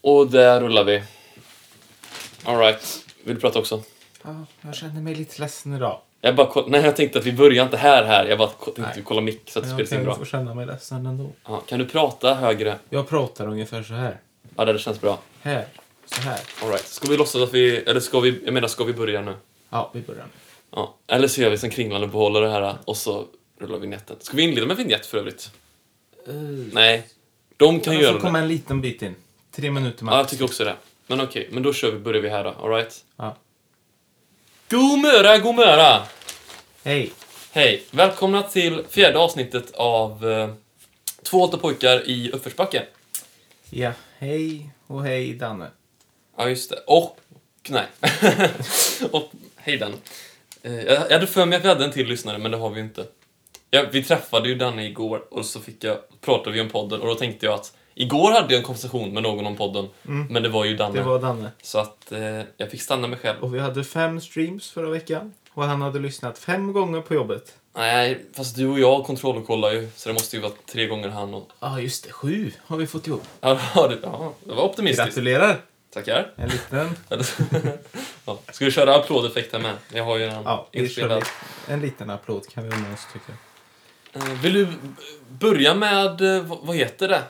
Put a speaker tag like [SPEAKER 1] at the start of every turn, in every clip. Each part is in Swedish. [SPEAKER 1] Och där rullar vi. Alright. Vill du prata också?
[SPEAKER 2] Ja, jag känner mig lite ledsen idag.
[SPEAKER 1] Jag bara koll- Nej, jag tänkte att vi börjar inte här här. Jag bara ko- tänkte
[SPEAKER 2] Nej.
[SPEAKER 1] kolla mick så att det
[SPEAKER 2] Jag
[SPEAKER 1] spelas
[SPEAKER 2] kan
[SPEAKER 1] in
[SPEAKER 2] ju
[SPEAKER 1] bra.
[SPEAKER 2] få känna mig ledsen ändå.
[SPEAKER 1] Ja, kan du prata högre?
[SPEAKER 2] Jag pratar ungefär så här.
[SPEAKER 1] Ja, det känns bra.
[SPEAKER 2] Här. Så här.
[SPEAKER 1] Alright. Ska vi låtsas att vi... Eller ska vi... Jag menar, ska vi börja nu?
[SPEAKER 2] Ja, vi börjar.
[SPEAKER 1] Ja. Eller så gör vi som Kringlan och behåller det här och så rullar vignetten. Ska vi inleda med vignett för övrigt?
[SPEAKER 2] Uh,
[SPEAKER 1] Eh, Nej. De kan göra
[SPEAKER 2] får komma
[SPEAKER 1] det.
[SPEAKER 2] en liten bit in. Tre minuter max.
[SPEAKER 1] Ja, jag tycker också det. Men okej, men då kör vi, börjar vi här då. Alright?
[SPEAKER 2] Ja.
[SPEAKER 1] God möra, god möra!
[SPEAKER 2] Hej.
[SPEAKER 1] Hej! Välkomna till fjärde avsnittet av eh, Två åtta pojkar i uppförsbacke.
[SPEAKER 2] Ja, hej och hej Danne.
[SPEAKER 1] Ja, just det. Och... Nej. och hej Dan. Eh, jag jag hade för mig att vi hade en till lyssnare, men det har vi ju inte. Ja, vi träffade ju Danne igår och så fick jag, pratade vi om podden och då tänkte jag att igår hade jag en konversation med någon om podden,
[SPEAKER 2] Mm.
[SPEAKER 1] men det var ju Danne.
[SPEAKER 2] Det var Danne.
[SPEAKER 1] Så att eh, jag fick stanna mig själv.
[SPEAKER 2] Och vi hade fem streams förra veckan. Och han hade lyssnat fem gånger på jobbet.
[SPEAKER 1] Nej, fast du och jag kontrollkollar ju, så det måste ju vara tre gånger han och...
[SPEAKER 2] Ja, ah, just det. Sju har vi fått ihop.
[SPEAKER 1] Ja, det- ja, det var optimistiskt.
[SPEAKER 2] Gratulerar.
[SPEAKER 1] Tackar.
[SPEAKER 2] En liten.
[SPEAKER 1] Eller- ja. Ska vi köra applådeffekt här med? Jag har ju den
[SPEAKER 2] Ja, vi kör
[SPEAKER 1] inspelad.
[SPEAKER 2] lite- en liten applåd kan vi unna oss tycker jag.
[SPEAKER 1] Eh, Vill du b- börja med, eh, vad vad heter det?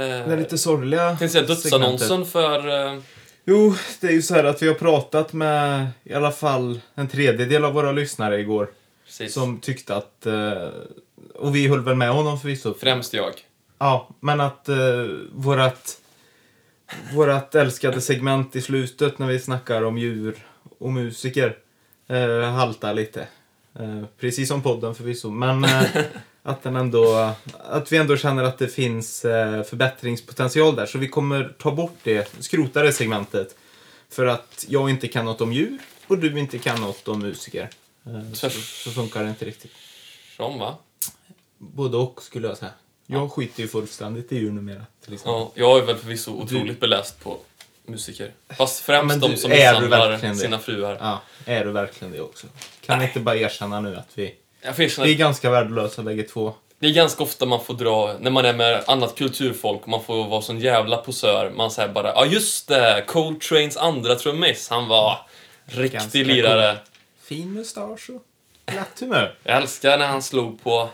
[SPEAKER 1] Eh,
[SPEAKER 2] Den här lite sorgliga
[SPEAKER 1] tänkte säga
[SPEAKER 2] segmentet.
[SPEAKER 1] dödsannonsen för... eh,
[SPEAKER 2] Jo, det är ju så här att vi har pratat med i alla fall en tredjedel av våra lyssnare igår.
[SPEAKER 1] Precis.
[SPEAKER 2] Som tyckte att... eh, Och vi höll väl med honom förvisso.
[SPEAKER 1] Främst jag.
[SPEAKER 2] Ja, men att eh, vårat... Vårat älskade segment i slutet när vi snackar om djur och musiker eh, haltar lite. Eh, precis som podden förvisso, men eh, att, den ändå, att vi ändå känner att det finns eh, förbättringspotential där. Så vi kommer ta bort det, skrota det segmentet. För att jag inte kan något om djur och du inte kan något om musiker. Eh, så, så funkar det inte riktigt.
[SPEAKER 1] Som, va?
[SPEAKER 2] Både och skulle jag säga. Jag skiter ju fullständigt i djur numera. Till exempel.
[SPEAKER 1] Ja, jag är väl förvisso otroligt beläst på musiker. Fast främst
[SPEAKER 2] Men
[SPEAKER 1] de
[SPEAKER 2] du-
[SPEAKER 1] som
[SPEAKER 2] är du
[SPEAKER 1] misshandlar
[SPEAKER 2] verkligen det?
[SPEAKER 1] sina fruar.
[SPEAKER 2] Ja. är du verkligen det också? Kan vi inte bara erkänna nu att vi,
[SPEAKER 1] Jag får erkänna,
[SPEAKER 2] vi är ganska värdelösa bägge två?
[SPEAKER 1] det är ganska ofta man får dra, när man är med annat kulturfolk, man får vara sån jävla posör. Man säger bara ja ah, just det, Coltranes andra trummis, han var
[SPEAKER 2] Ganska
[SPEAKER 1] riktig lirare.
[SPEAKER 2] Fin mustasch och glatt humör.
[SPEAKER 1] Jag älskar när han slog på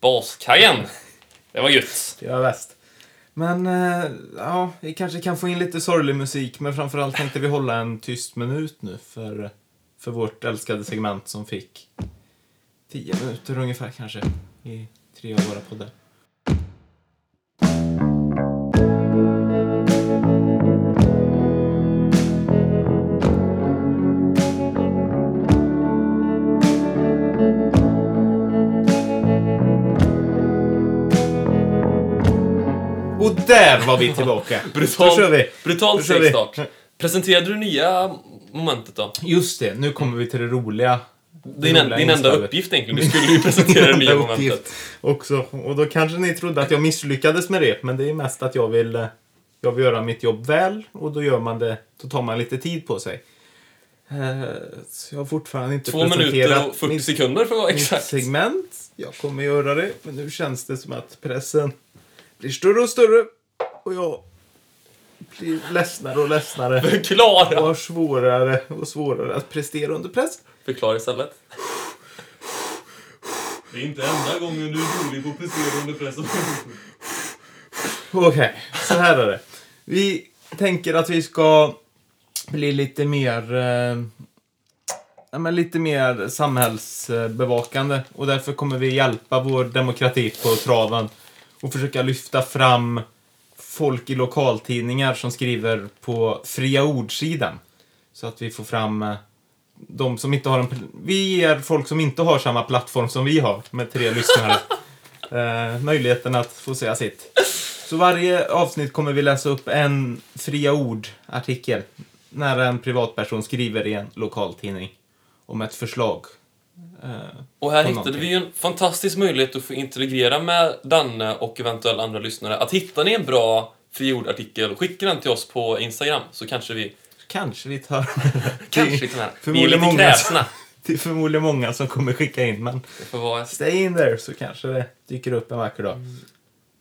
[SPEAKER 1] baskajen. Det var gött.
[SPEAKER 2] Det var bäst. Men eh, ja, vi kanske kan få in lite sorglig musik men framförallt tänkte vi hålla en tyst minut nu för, för vårt älskade segment som fick 10 minuter ungefär kanske i tre av våra poddar. Och där var vi tillbaka! Då kör vi!
[SPEAKER 1] Brutal
[SPEAKER 2] Då kör vi.
[SPEAKER 1] segstart. Presenterade du nya momentet då?
[SPEAKER 2] Just det, nu kommer vi till det roliga.
[SPEAKER 1] Din, en,
[SPEAKER 2] roliga
[SPEAKER 1] din enda
[SPEAKER 2] inslaget.
[SPEAKER 1] uppgift egentligen. Du skulle ju presentera det nya
[SPEAKER 2] Enda uppgift
[SPEAKER 1] momentet.
[SPEAKER 2] Också. Och då kanske ni trodde att jag misslyckades med det, men det är mest att jag vill, eh, jag vill göra mitt jobb väl och då, gör man det, då tar man lite tid på sig. Eh, Så jag har fortfarande inte
[SPEAKER 1] Två minuter och 40
[SPEAKER 2] mitt,
[SPEAKER 1] sekunder för att vara
[SPEAKER 2] mitt
[SPEAKER 1] exakt.
[SPEAKER 2] segment. Jag kommer göra det, men nu känns det som att pressen blir större och större och jag blir ledsnare och ledsnare och
[SPEAKER 1] Förklara!
[SPEAKER 2] har svårare och svårare att prestera under press.
[SPEAKER 1] Förklara istället. Det är inte enda gången du är rolig på att prestera under press.
[SPEAKER 2] Okej, så här är det. Vi tänker att vi ska bli lite mer... Eh, ja, men lite mer samhällsbevakande och därför kommer vi hjälpa vår demokrati på traven och försöka lyfta fram folk i lokaltidningar som skriver på fria ordsidan. Så att vi får fram eh, de som inte har en... pl- Vi ger folk som inte har samma plattform som vi har med tre lyssnare eh, möjligheten att få säga sitt. Så varje avsnitt kommer vi läsa upp en Fria Ord-artikel när en privatperson skriver i en lokaltidning om ett förslag. Eh,
[SPEAKER 1] Och här
[SPEAKER 2] På
[SPEAKER 1] hittade
[SPEAKER 2] någonting.
[SPEAKER 1] vi ju en fantastisk möjlighet att få integrera med Danne och eventuella andra lyssnare. Att hittar ni en bra friordartikel, skicka den till oss på Instagram så kanske vi
[SPEAKER 2] kanske vi tar...
[SPEAKER 1] kanske hittar den. här. Vi är
[SPEAKER 2] förmodligen
[SPEAKER 1] lite
[SPEAKER 2] många.
[SPEAKER 1] kräsna.
[SPEAKER 2] det är förmodligen många som kommer skicka in, men
[SPEAKER 1] Det får vara- Eh,
[SPEAKER 2] stay in there så kanske det dyker upp en vacker dag.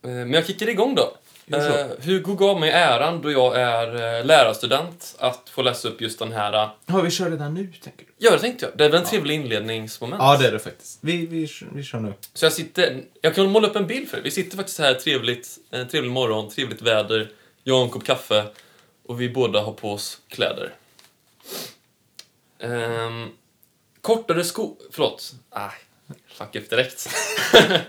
[SPEAKER 1] Eh, Men jag kickar igång då.
[SPEAKER 2] Gör så.
[SPEAKER 1] Eh, Hugo gav mig äran då jag är eh, lärarstudent att få läsa upp just den här... eh,
[SPEAKER 2] Ja, vi kör redan nu, tänker du?
[SPEAKER 1] Ja, det tänkte jag. Det är väl en trevlig inledningsmoment.
[SPEAKER 2] Ja, det är det faktiskt. Vi, vi, kör- vi kör nu.
[SPEAKER 1] Så jag sitter... Jag kan måla upp en bild för er. Vi sitter faktiskt här trevligt. En trevlig morgon, trevligt väder. Jag har en kopp kaffe. Och vi båda har på oss kläder. Ehm, kortare sko... Förlåt. Ah, fuck upp direkt.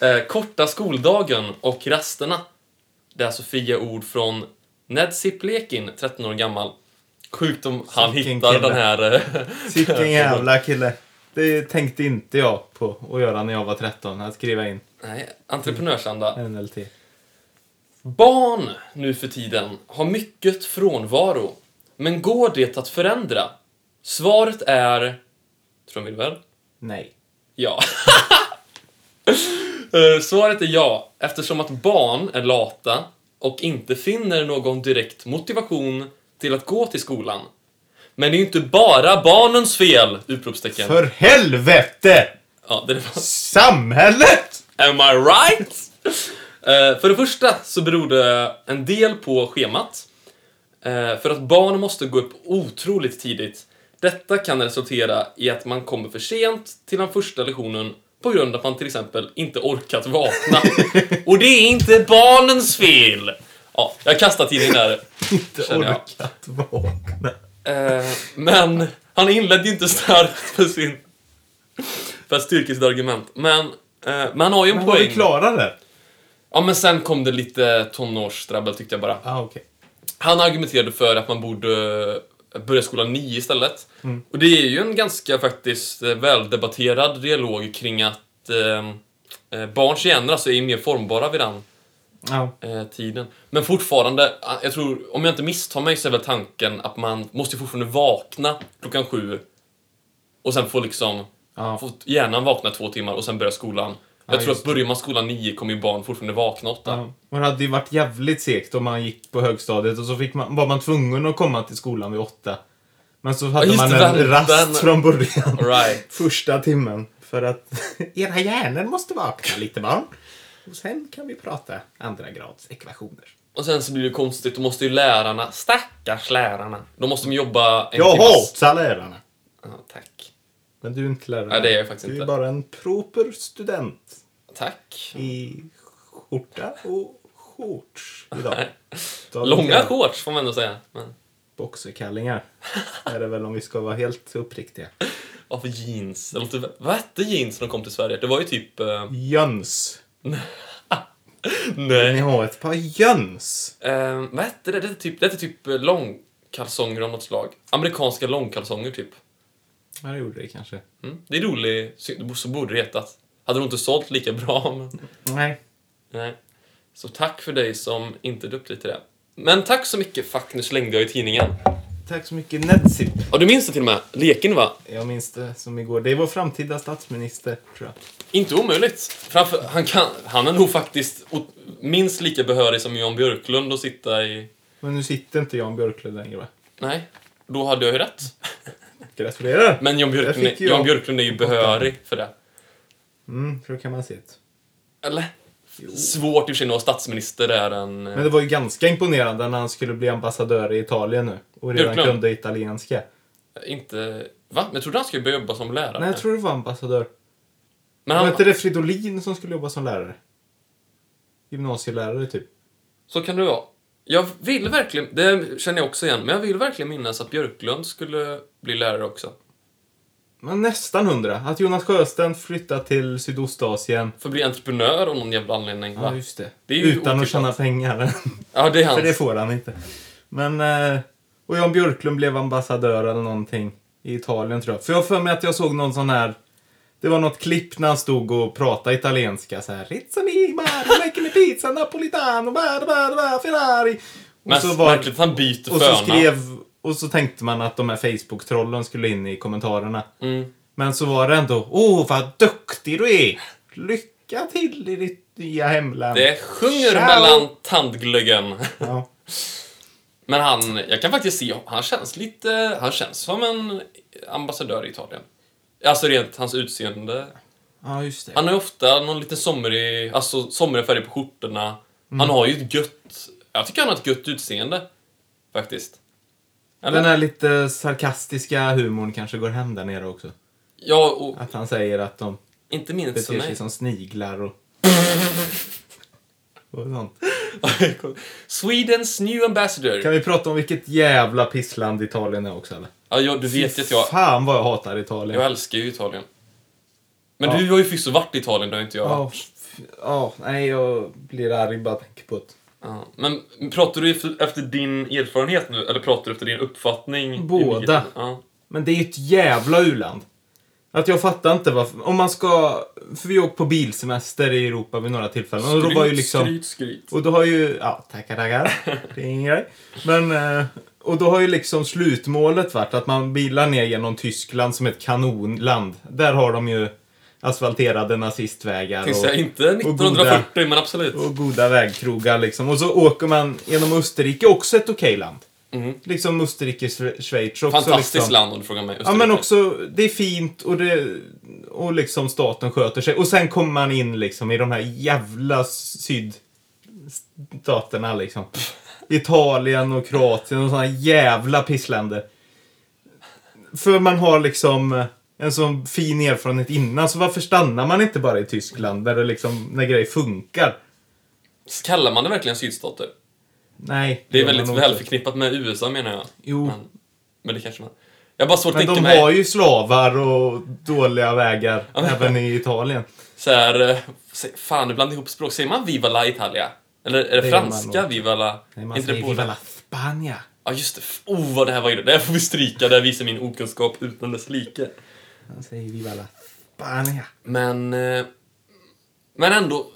[SPEAKER 1] Eh, korta skoldagen och rasterna. Det är Sofia ord från Ned Siplekin, 13 år gammal. Sjukt om han
[SPEAKER 2] Vilken
[SPEAKER 1] hittar
[SPEAKER 2] kille.
[SPEAKER 1] den här... eh,
[SPEAKER 2] Vilken jävla kille. Det tänkte inte jag på att göra när jag var 13, att skriva in
[SPEAKER 1] Nej, entreprenörsanda.
[SPEAKER 2] NLT.
[SPEAKER 1] Barn nu för tiden har mycket frånvaro. Men går det att förändra? Svaret är... Trumvirvel?
[SPEAKER 2] Nej.
[SPEAKER 1] Ja. Eh, Svaret är ja, eftersom att barn är lata och inte finner någon direkt motivation till att gå till skolan. Men det är ju inte bara barnens fel! Utropstecken.
[SPEAKER 2] För helvete!
[SPEAKER 1] Ja, det var...
[SPEAKER 2] Samhället!
[SPEAKER 1] Am I right? Eh, för det första så beror det en del på schemat. Eh, för att barn måste gå upp otroligt tidigt. Detta kan resultera i att man kommer för sent till den första lektionen på grund av att man till exempel inte orkat vakna. Och det är inte barnens fel! Ja, jag kastar tidningen där.
[SPEAKER 2] Inte
[SPEAKER 1] Känner jag.
[SPEAKER 2] orkat vakna.
[SPEAKER 1] Eh, men han inledde ju inte starkt för sin... För att styrka sitt argument. Men, eh, men han har ju en
[SPEAKER 2] Men var
[SPEAKER 1] poäng.
[SPEAKER 2] vi klara där?
[SPEAKER 1] Ja, men sen kom det lite tonårsdrabbel tyckte jag bara.
[SPEAKER 2] Ah, okej.
[SPEAKER 1] Han argumenterade för att man borde eh, börja skolan nio istället.
[SPEAKER 2] Mm.
[SPEAKER 1] Och det är ju en ganska faktiskt eh, väldebatterad dialog kring att eh, eh, barns hjärnor alltså är mer formbara vid den
[SPEAKER 2] Ja.
[SPEAKER 1] eh, tiden. Men fortfarande, eh, jag tror, om jag inte misstar mig så är väl tanken att man måste ju fortfarande vakna klockan sju och sen få liksom
[SPEAKER 2] Ja.
[SPEAKER 1] få hjärnan vakna två timmar och sen börja skolan. Jag
[SPEAKER 2] Ja,
[SPEAKER 1] tror att
[SPEAKER 2] just
[SPEAKER 1] börjar man skolan nio kommer ju barn fortfarande vakna åtta.
[SPEAKER 2] Ja. Men det hade ju varit jävligt segt om man gick på högstadiet och så fick man, var man tvungen att komma till skolan vid åtta. Men så hade
[SPEAKER 1] Ja, just
[SPEAKER 2] man
[SPEAKER 1] det,
[SPEAKER 2] en
[SPEAKER 1] den-
[SPEAKER 2] rast
[SPEAKER 1] den-
[SPEAKER 2] från början.
[SPEAKER 1] All right.
[SPEAKER 2] Första timmen. För att era hjärnor måste vakna lite barn. Och sen kan vi prata andra grads ekvationer.
[SPEAKER 1] Och sen så blir det konstigt, då måste ju lärarna, stackars lärarna, då måste de jobba en
[SPEAKER 2] Jag
[SPEAKER 1] timmes-
[SPEAKER 2] hatar lärarna.
[SPEAKER 1] Ja, tack.
[SPEAKER 2] Men du är inte lärare.
[SPEAKER 1] Nej, det är jag faktiskt
[SPEAKER 2] du
[SPEAKER 1] inte.
[SPEAKER 2] är bara en proper student.
[SPEAKER 1] Tack.
[SPEAKER 2] I skjorta och shorts idag. Dagens
[SPEAKER 1] Långa
[SPEAKER 2] jävla-
[SPEAKER 1] shorts får man ändå säga. Men,
[SPEAKER 2] Boxerkallingar är det väl om vi ska vara helt uppriktiga.
[SPEAKER 1] varför jeans? Det låter, vad hette jeans när de kom till Sverige? Det var ju typ... Eh,
[SPEAKER 2] Jöns. Ni
[SPEAKER 1] nej.
[SPEAKER 2] har ett par jöns.
[SPEAKER 1] Eh, vad hette det? Det är typ, det hette typ eh, långkalsonger av något slag. Amerikanska långkalsonger typ.
[SPEAKER 2] Ja, det gjorde det kanske.
[SPEAKER 1] Mm. Det är rolig, sy- så borde det hetat. Hade de inte sålt lika bra men...
[SPEAKER 2] Nej.
[SPEAKER 1] Nej. Så tack för dig som inte döpte dig till det. Men tack så mycket, fuck nu slängde jag i tidningen.
[SPEAKER 2] Tack så mycket, Nedzip.
[SPEAKER 1] Ja, du minns det till och med. Leken, va?
[SPEAKER 2] Jag minns det som igår. Det är vår framtida statsminister, tror jag.
[SPEAKER 1] Inte omöjligt. Framför, han, kan, han är nog faktiskt o- minst lika behörig som Jan Björklund att sitta i...
[SPEAKER 2] Men nu sitter inte Jan Björklund längre, va?
[SPEAKER 1] Nej, då hade jag ju rätt.
[SPEAKER 2] Gratulerar!
[SPEAKER 1] Men Jan Björklund,
[SPEAKER 2] Där
[SPEAKER 1] är-
[SPEAKER 2] fick jag.
[SPEAKER 1] Jan Björklund är ju behörig för det.
[SPEAKER 2] Mm, för då kan man se det.
[SPEAKER 1] Eller? Svårt i och för sig när statsminister är eh, en...
[SPEAKER 2] Men det var ju ganska imponerande när han skulle bli ambassadör i Italien nu. Och redan
[SPEAKER 1] Björklund.
[SPEAKER 2] kunde italienska.
[SPEAKER 1] Inte... Va? Men jag trodde han skulle börja jobba som lärare.
[SPEAKER 2] Nej, jag tror det var ambassadör.
[SPEAKER 1] Men
[SPEAKER 2] Var
[SPEAKER 1] han,
[SPEAKER 2] inte det Fridolin som skulle jobba som lärare? Gymnasielärare, typ.
[SPEAKER 1] Så kan det vara. Jag vill verkligen... Det känner jag också igen. Men jag vill verkligen minnas att Björklund skulle bli lärare också.
[SPEAKER 2] Men nästan hundra. Att Jonas Sjösten flyttar till Sydostasien.
[SPEAKER 1] För att bli entreprenör av någon jävla anledning, va?
[SPEAKER 2] just det.
[SPEAKER 1] Det är ju
[SPEAKER 2] Utan
[SPEAKER 1] otippat.
[SPEAKER 2] att tjäna pengar.
[SPEAKER 1] Ja, det är hans.
[SPEAKER 2] För det får han inte. Men... eh, Och Jan Björklund blev ambassadör eller någonting i Italien, tror jag. För jag har för mig att jag såg någon sån här... Det var något klipp när han stod och pratade italienska så här. Rizza mi, mare, make me pizza, napolitano, bara, bara, bara, Ferrari. Och
[SPEAKER 1] Men
[SPEAKER 2] så
[SPEAKER 1] så
[SPEAKER 2] var-
[SPEAKER 1] märkligt att han byter
[SPEAKER 2] Och
[SPEAKER 1] förnamn.
[SPEAKER 2] så skrev... Och så tänkte man att de här Facebook-trollen skulle in i kommentarerna.
[SPEAKER 1] Mm.
[SPEAKER 2] Men så var det ändå, åh vad duktig du är! Lycka till i ditt nya hemland!
[SPEAKER 1] Det sjunger
[SPEAKER 2] Ciao.
[SPEAKER 1] mellan tandglöggen.
[SPEAKER 2] Ja.
[SPEAKER 1] Men han, jag kan faktiskt se, han känns lite, han känns som en ambassadör i Italien. Alltså rent hans utseende.
[SPEAKER 2] ja, just det.
[SPEAKER 1] Han har ju ofta någon liten somrig, alltså somriga färger på skjortorna.
[SPEAKER 2] Mm.
[SPEAKER 1] Han har ju ett gött... Jag tycker han har ett gött utseende. Faktiskt. Eller?
[SPEAKER 2] Den här lite sarkastiska humorn kanske går hem där nere också.
[SPEAKER 1] Ja, och
[SPEAKER 2] Att han säger att de
[SPEAKER 1] inte minst så
[SPEAKER 2] beter sig
[SPEAKER 1] nej.
[SPEAKER 2] som sniglar och... och sånt.
[SPEAKER 1] Swedens new ambassador.
[SPEAKER 2] Kan vi prata om vilket jävla pissland Italien är också eller?
[SPEAKER 1] Ja, jag, du vet ju att jag,
[SPEAKER 2] Fan vad jag hatar Italien.
[SPEAKER 1] jag älskar ju Italien. Men
[SPEAKER 2] Ja.
[SPEAKER 1] du har ju förvisso varit i Italien, det har inte jag.
[SPEAKER 2] Ja, f- ja, nej jag blir arg bara jag tänker på det.
[SPEAKER 1] Ja. Men pratar du efter, efter din erfarenhet nu, eller pratar du efter din uppfattning? i
[SPEAKER 2] Båda.
[SPEAKER 1] nyheterna? Ja.
[SPEAKER 2] Men det är ju ett jävla u-land. Att jag fattar inte varför. Om man ska... För vi åkte på bilsemester i Europa vid några tillfällen. och då var ju
[SPEAKER 1] Skryt,
[SPEAKER 2] liksom...
[SPEAKER 1] skryt, skryt.
[SPEAKER 2] Och då har ju... Ja, tackar, tackar. Det är ingen grej. Men... eh, Och då har ju liksom slutmålet varit att man bilar ner genom Tyskland som ett kanonland. Där har de ju asfalterade nazistvägar
[SPEAKER 1] Tills jag
[SPEAKER 2] och,
[SPEAKER 1] inte 1940, men absolut.
[SPEAKER 2] och goda vägkrogar liksom. Och så åker man genom Österrike, också ett okej land.
[SPEAKER 1] Mm.
[SPEAKER 2] Liksom Österrike, Schwe- Schweiz också.
[SPEAKER 1] Fantastiskt
[SPEAKER 2] liksom.
[SPEAKER 1] land om du frågar mig.
[SPEAKER 2] Ja,
[SPEAKER 1] Österrike.
[SPEAKER 2] men också, det är fint och, det, och liksom staten sköter sig. Och sen kommer man in liksom i de här jävla sydstaterna liksom. Italien och Kroatien och såna jävla pissländer. För man har liksom en sån fin erfarenhet innan, så varför stannar man inte bara i Tyskland där det liksom, när grejer funkar?
[SPEAKER 1] Kallar man det verkligen sydstater?
[SPEAKER 2] Nej.
[SPEAKER 1] Det är
[SPEAKER 2] gör man
[SPEAKER 1] väldigt
[SPEAKER 2] nog
[SPEAKER 1] väl
[SPEAKER 2] inte.
[SPEAKER 1] förknippat med USA menar jag.
[SPEAKER 2] Jo.
[SPEAKER 1] Men, men det kanske man... Jag har bara svårt att
[SPEAKER 2] Men
[SPEAKER 1] tänka
[SPEAKER 2] de
[SPEAKER 1] mig
[SPEAKER 2] har ju slavar och dåliga vägar, även i Italien.
[SPEAKER 1] såhär... eh, se- Fan, du blandar ihop språk. Säger man Viva la Italia? Eller är det,
[SPEAKER 2] Det gör man
[SPEAKER 1] franska
[SPEAKER 2] nog.
[SPEAKER 1] Viva la...
[SPEAKER 2] Nej,
[SPEAKER 1] Är
[SPEAKER 2] man
[SPEAKER 1] inte det
[SPEAKER 2] säger
[SPEAKER 1] båda?
[SPEAKER 2] Viva la Spagna.
[SPEAKER 1] Ja, just det. F- Oh, vad det här var ju... Det här får vi stryka. Där visar min okunskap utan dess like.
[SPEAKER 2] Han säger Viva la Spania.
[SPEAKER 1] Men... eh, Men ändå...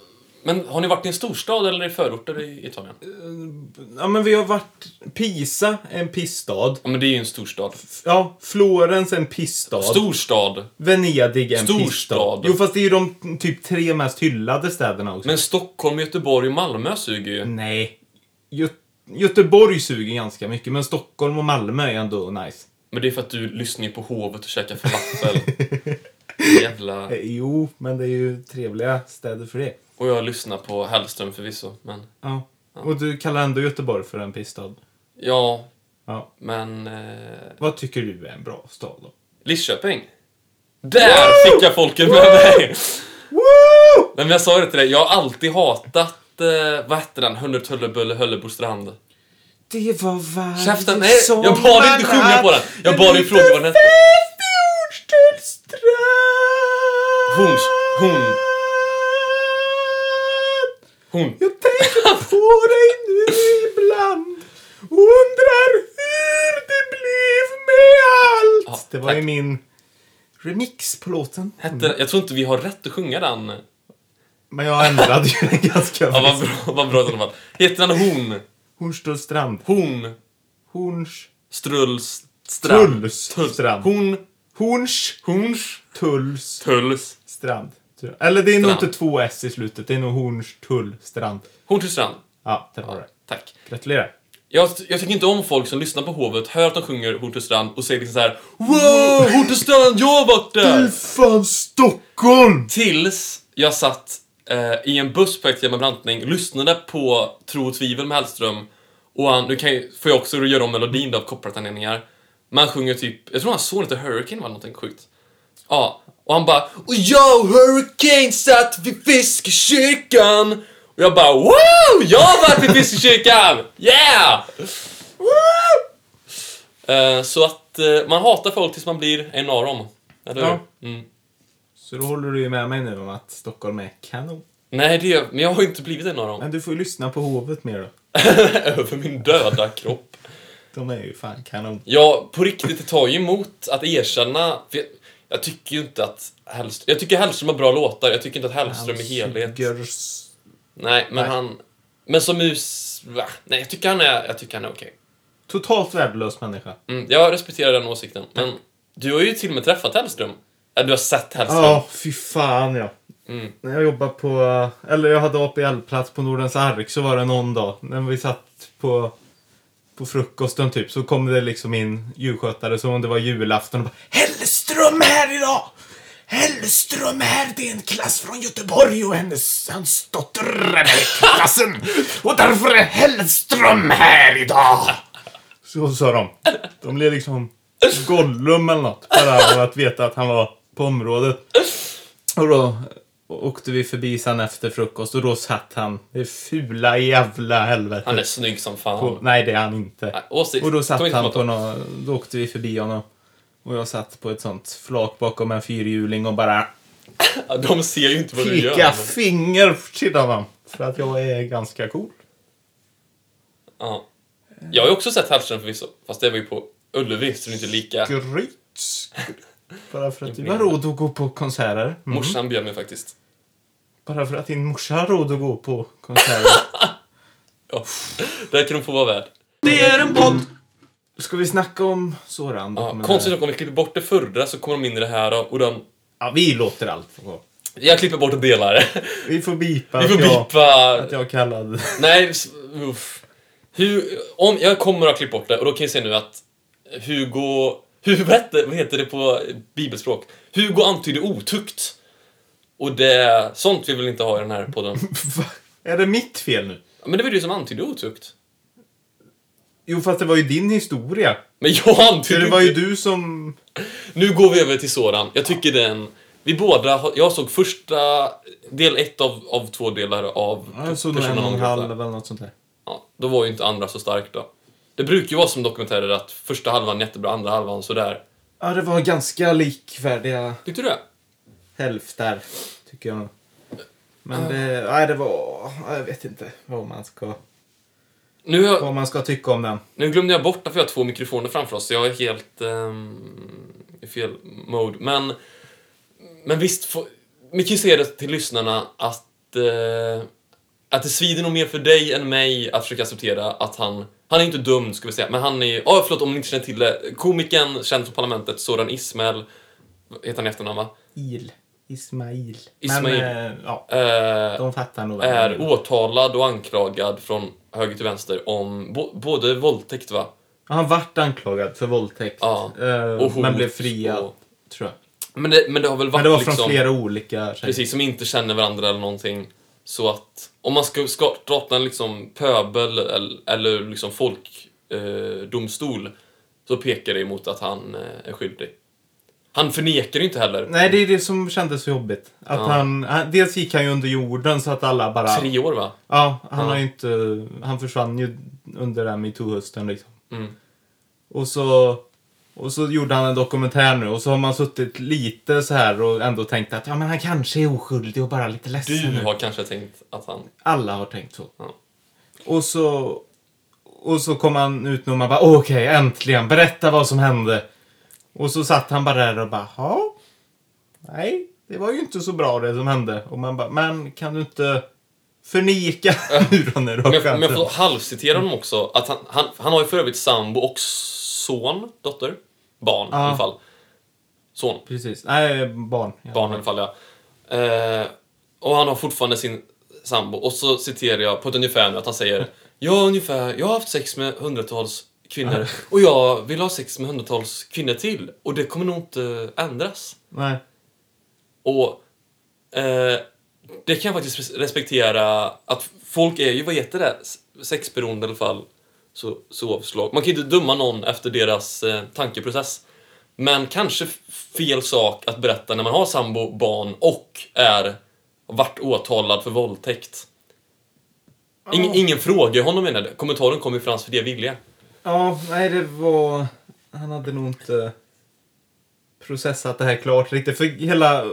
[SPEAKER 1] Men har ni varit i en storstad eller i förorter i Italien?
[SPEAKER 2] Ja, men vi har varit... Pisa är en pissstad.
[SPEAKER 1] Ja, men det är ju en storstad.
[SPEAKER 2] Ja, Florens är en pissstad.
[SPEAKER 1] Storstad!
[SPEAKER 2] Venedig är en
[SPEAKER 1] Storstad.
[SPEAKER 2] pissstad. Jo, fast det är ju de mm, typ tre mest hyllade städerna också.
[SPEAKER 1] Men Stockholm, Göteborg och Malmö suger ju.
[SPEAKER 2] Nej. Gö- Göteborg suger ganska mycket, men Stockholm och Malmö är ändå nice.
[SPEAKER 1] Men det är för att du lyssnar ju på Hovet och käkar falafel. Jävla...
[SPEAKER 2] Eh, Jo, men det är ju trevliga städer för det.
[SPEAKER 1] Och jag lyssnar på Hellström förvisso, men...
[SPEAKER 2] Ja. Och du kallar ändå Göteborg för en pissstad.
[SPEAKER 1] Ja,
[SPEAKER 2] Ja.
[SPEAKER 1] men... Eh,
[SPEAKER 2] Vad tycker du är en bra stad då?
[SPEAKER 1] Lidköping! Där fick jag folket med mig!
[SPEAKER 2] Woo!
[SPEAKER 1] Nej men jag sa det till dig, jag har alltid hatat... Eh, vad hette den? Hundertullebulle Höllebostrand.
[SPEAKER 2] Det var varje
[SPEAKER 1] Käften! Nej! Jag bad dig inte sjunga på den! Jag bad dig fråga vad den hette. Hon... Hon... Hon...
[SPEAKER 2] Jag tänker på dig nu ibland. Undrar hur det blev med allt.
[SPEAKER 1] Ja,
[SPEAKER 2] det var ju
[SPEAKER 1] tack.
[SPEAKER 2] min remix på låten.
[SPEAKER 1] Hette, jag tror inte vi har rätt att sjunga den.
[SPEAKER 2] Men jag ändrade ju den ganska
[SPEAKER 1] Ja, vad
[SPEAKER 2] friskt.
[SPEAKER 1] bra, vad bra i sådana fall. Heter den Hon?
[SPEAKER 2] Hornstullstrand.
[SPEAKER 1] Hon...
[SPEAKER 2] Horns...
[SPEAKER 1] Struls... Strand.
[SPEAKER 2] Tulls.
[SPEAKER 1] Tulls.
[SPEAKER 2] Strand.
[SPEAKER 1] Hon...
[SPEAKER 2] Horns...
[SPEAKER 1] Horns...
[SPEAKER 2] Tulls...
[SPEAKER 1] Tulls.
[SPEAKER 2] Strand. tror jag. Eller det är nog
[SPEAKER 1] Strand.
[SPEAKER 2] inte två s i slutet. Det är nog Horns... Tull... Strand.
[SPEAKER 1] Hornstullstrand.
[SPEAKER 2] Ja, det var det.
[SPEAKER 1] Tack.
[SPEAKER 2] Gratulerar.
[SPEAKER 1] Jag, jag tycker inte om folk som lyssnar på hovet, hör att de sjunger Hornstullstrand och säger liksom så här: Wow! Hornstullstrand, jag har varit där!
[SPEAKER 2] fan Stockholm!
[SPEAKER 1] Tills jag satt eh, i en buss på Ekthjälmen Brantning, lyssnade på Tro och tvivel med Hellström och han, nu kan jag, får jag också göra om melodin då av kopplartanledningar. Men han sjunger typ, jag tror han såg lite Hurricane var någonting sjukt. Ja, och han bara Och jag och Hurricane satt vid Fiskekyrkan och jag bara Wow! Jag har varit vid Fiskekyrkan! Yeah! Eh, så att eh, man hatar folk tills man blir en av dem. Eller hur?
[SPEAKER 2] Ja.
[SPEAKER 1] Mm.
[SPEAKER 2] Så då håller du ju med mig nu om att Stockholm är kanon.
[SPEAKER 1] Nej, det är, men jag har ju inte blivit en av dem.
[SPEAKER 2] Men du får ju lyssna på hovet mer då.
[SPEAKER 1] över min döda kropp.
[SPEAKER 2] De är ju fan kanon.
[SPEAKER 1] Jag på riktigt det tar ju emot att erkänna. För jag, jag tycker ju inte att Hellström... Jag tycker Hellström har bra låtar. Jag tycker inte att Hellström i helhet...
[SPEAKER 2] Görs...
[SPEAKER 1] Nej, men
[SPEAKER 2] Nej.
[SPEAKER 1] han... Men som mus... Va? Nej, jag tycker han är, jag tycker han är okej.
[SPEAKER 2] Totalt värdelös människa.
[SPEAKER 1] Mm, jag respekterar den åsikten. Men du har ju till och med träffat Hellström. Ja, du har sett Hellström.
[SPEAKER 2] Ja, fy fan ja.
[SPEAKER 1] Mm.
[SPEAKER 2] När jag jobbade på... eh, Eller jag hade APL-plats på Nordens Ark så var det någon dag när vi satt på... På frukosten typ så kom det liksom in djurskötare som om det var julafton och bara Hellström är här idag!
[SPEAKER 3] Hellström här, det är en klass från Göteborg och hennes, hans dotter är med i klassen. Och därför är Hellström här idag.
[SPEAKER 2] Så sa de. De blev liksom Gollum eller något. Bara för att veta att han var på området. Och då åkte vi förbi sen efter frukost och då satt han. Det fula jävla helvetet.
[SPEAKER 1] Han är snygg som
[SPEAKER 2] På,
[SPEAKER 1] fan.
[SPEAKER 2] nej, det är han inte.
[SPEAKER 1] Nej, Åsikt.
[SPEAKER 2] Och då
[SPEAKER 1] Kom
[SPEAKER 2] satt
[SPEAKER 1] inte
[SPEAKER 2] han
[SPEAKER 1] mot
[SPEAKER 2] på
[SPEAKER 1] honom.
[SPEAKER 2] någon, då åkte vi förbi honom. Och jag satt på ett sånt flak bakom en fyrhjuling och bara
[SPEAKER 1] Ja, De ser ju inte vad du gör.
[SPEAKER 2] pika
[SPEAKER 1] men-
[SPEAKER 2] finger till honom. För att jag är ganska cool.
[SPEAKER 1] Ja. Jag har ju också sett Hellström förvisso, fast det var ju på Ullevi, så det är inte lika.
[SPEAKER 2] Skryt. skryt. Bara för att du har råd att gå på konserter. Mm.
[SPEAKER 1] Morsan bjöd mig faktiskt.
[SPEAKER 2] Bara för att din morsa har råd att gå på konserter.
[SPEAKER 1] Ja. Det här kan de få vara värd.
[SPEAKER 2] Det är en podd! Mm. Ska vi snacka om Soran?
[SPEAKER 1] Ja,
[SPEAKER 2] dokumentären?
[SPEAKER 1] konstigt nog, om vi klipper bort det förra så kommer de in i det här och de...
[SPEAKER 2] Ja, vi låter allt få gå.
[SPEAKER 1] Jag klipper bort och delar det.
[SPEAKER 2] Vi får bipa
[SPEAKER 1] Vi får
[SPEAKER 2] att, jag,
[SPEAKER 1] bipa...
[SPEAKER 2] att jag kallade...
[SPEAKER 1] Nej, s- uff. Hur, om, jag kommer att klippa bort det och då kan jag säga nu att Hugo... Hur, vad, heter, vad heter det på bibelspråk? Hugo antyder otukt. Och det... Sånt vi vill inte ha i den här podden.
[SPEAKER 2] Va? Är det mitt fel nu?
[SPEAKER 1] Men det var ju du som antydde otukt.
[SPEAKER 2] Jo, fast det var ju din historia.
[SPEAKER 1] Men jag
[SPEAKER 2] Så
[SPEAKER 1] antydde
[SPEAKER 2] det var ju
[SPEAKER 1] inte-
[SPEAKER 2] du som...
[SPEAKER 1] Nu går vi över till Soran. Jag tycker den... Vi båda... har- Jag såg första... Del ett av, av två delar av...
[SPEAKER 2] Jag såg nog en
[SPEAKER 1] Persona
[SPEAKER 2] och en
[SPEAKER 1] non grata.
[SPEAKER 2] halv eller något sånt där.
[SPEAKER 1] Ja, då var ju inte andra så stark då. Det brukar ju vara som dokumentärer att första halvan är jättebra, andra halvan sådär.
[SPEAKER 2] Ja, det var ganska likvärdiga
[SPEAKER 1] Tyckte du det?
[SPEAKER 2] hälfter, tycker jag. nog. Men det, nej, det var... Jag vet inte vad man ska,
[SPEAKER 1] Nu, har jag,
[SPEAKER 2] vad man ska tycka om den.
[SPEAKER 1] nu glömde jag bort att vi har två mikrofoner framför oss, så jag är helt ehm, i fel mode. Men, men visst, få, vi kan ju säga det till lyssnarna att, eh, att det svider nog mer för dig än mig att försöka acceptera att han, han är inte dömd ska vi säga, men han är, ja förlåt om ni inte känner till det, komikern känd från Parlamentet, Soran Ismail, heter han i efternamn va?
[SPEAKER 2] Il. Ismail.
[SPEAKER 1] Ismail.
[SPEAKER 2] Men, eh, ja,
[SPEAKER 1] Eh,
[SPEAKER 2] de fattar nog. vad jag
[SPEAKER 1] är
[SPEAKER 2] menar.
[SPEAKER 1] åtalad och anklagad från höger till vänster om bo- både våldtäkt va?
[SPEAKER 2] Han vart anklagad för våldtäkt.
[SPEAKER 1] Ja,
[SPEAKER 2] eh,
[SPEAKER 1] och hot
[SPEAKER 2] men blev friad,
[SPEAKER 1] och-
[SPEAKER 2] tror jag.
[SPEAKER 1] Men det, men det har väl varit
[SPEAKER 2] Men det var från
[SPEAKER 1] liksom,
[SPEAKER 2] flera olika tjejer.
[SPEAKER 1] precis, som inte känner varandra eller någonting. Så att om man ska ska- starta en liksom pöbel eller, eller liksom folkdomstol eh, domstol, så pekar det emot att han eh, är skyldig. Han förnekar ju inte heller.
[SPEAKER 2] Nej, det är det som kändes så jobbigt. Att
[SPEAKER 1] Ja.
[SPEAKER 2] han, han, dels gick han ju under jorden så att alla bara...
[SPEAKER 1] Tre år va?
[SPEAKER 2] Ja, han
[SPEAKER 1] Ja.
[SPEAKER 2] har ju inte... Han försvann ju under den metoo-hösten liksom.
[SPEAKER 1] Mm.
[SPEAKER 2] Och så... Och så gjorde han en dokumentär nu och så har man suttit lite så här och ändå tänkt att ja men han kanske är oskyldig och bara lite ledsen
[SPEAKER 1] Du
[SPEAKER 2] nu.
[SPEAKER 1] har kanske tänkt att han...
[SPEAKER 2] Alla har tänkt så.
[SPEAKER 1] Ja.
[SPEAKER 2] Och så... Och så kom han ut nu och man bara okej, äntligen, berätta vad som hände. Och så satt han bara där och bara ja. Nej, det var ju inte så bra det som hände. Och man bara, men kan du inte förneka hur han är
[SPEAKER 1] Om jag, om jag
[SPEAKER 2] chansen?
[SPEAKER 1] får halvcitera honom också. Att han, han, han har ju för övrigt sambo och son, dotter, barn i
[SPEAKER 2] Ja.
[SPEAKER 1] alla fall. Son,
[SPEAKER 2] Precis. Nej, barn. Ja.
[SPEAKER 1] barn i alla fall ja. Eh, och han har fortfarande sin sambo. Och så citerar jag på ett ungefär nu att han säger Ja, ungefär. Jag har haft sex med hundratals kvinnor och jag vill ha sex med hundratals kvinnor till. Och det kommer nog inte ändras.
[SPEAKER 2] Nej.
[SPEAKER 1] Och eh, det kan jag faktiskt res- respektera att folk är ju, vad heter det, S- sexberoende i alla fall. Så, så avslag. Man kan ju inte döma någon efter deras eh, tankeprocess. Men kanske f- fel sak att berätta när man har sambo, barn och är vart åtalad för våldtäkt. Ingen, ingen fråga honom menar det. Kommentaren kom ju från hans fria vilja.
[SPEAKER 2] Ja, nej det var... Han hade nog inte processat det här klart riktigt. För hela...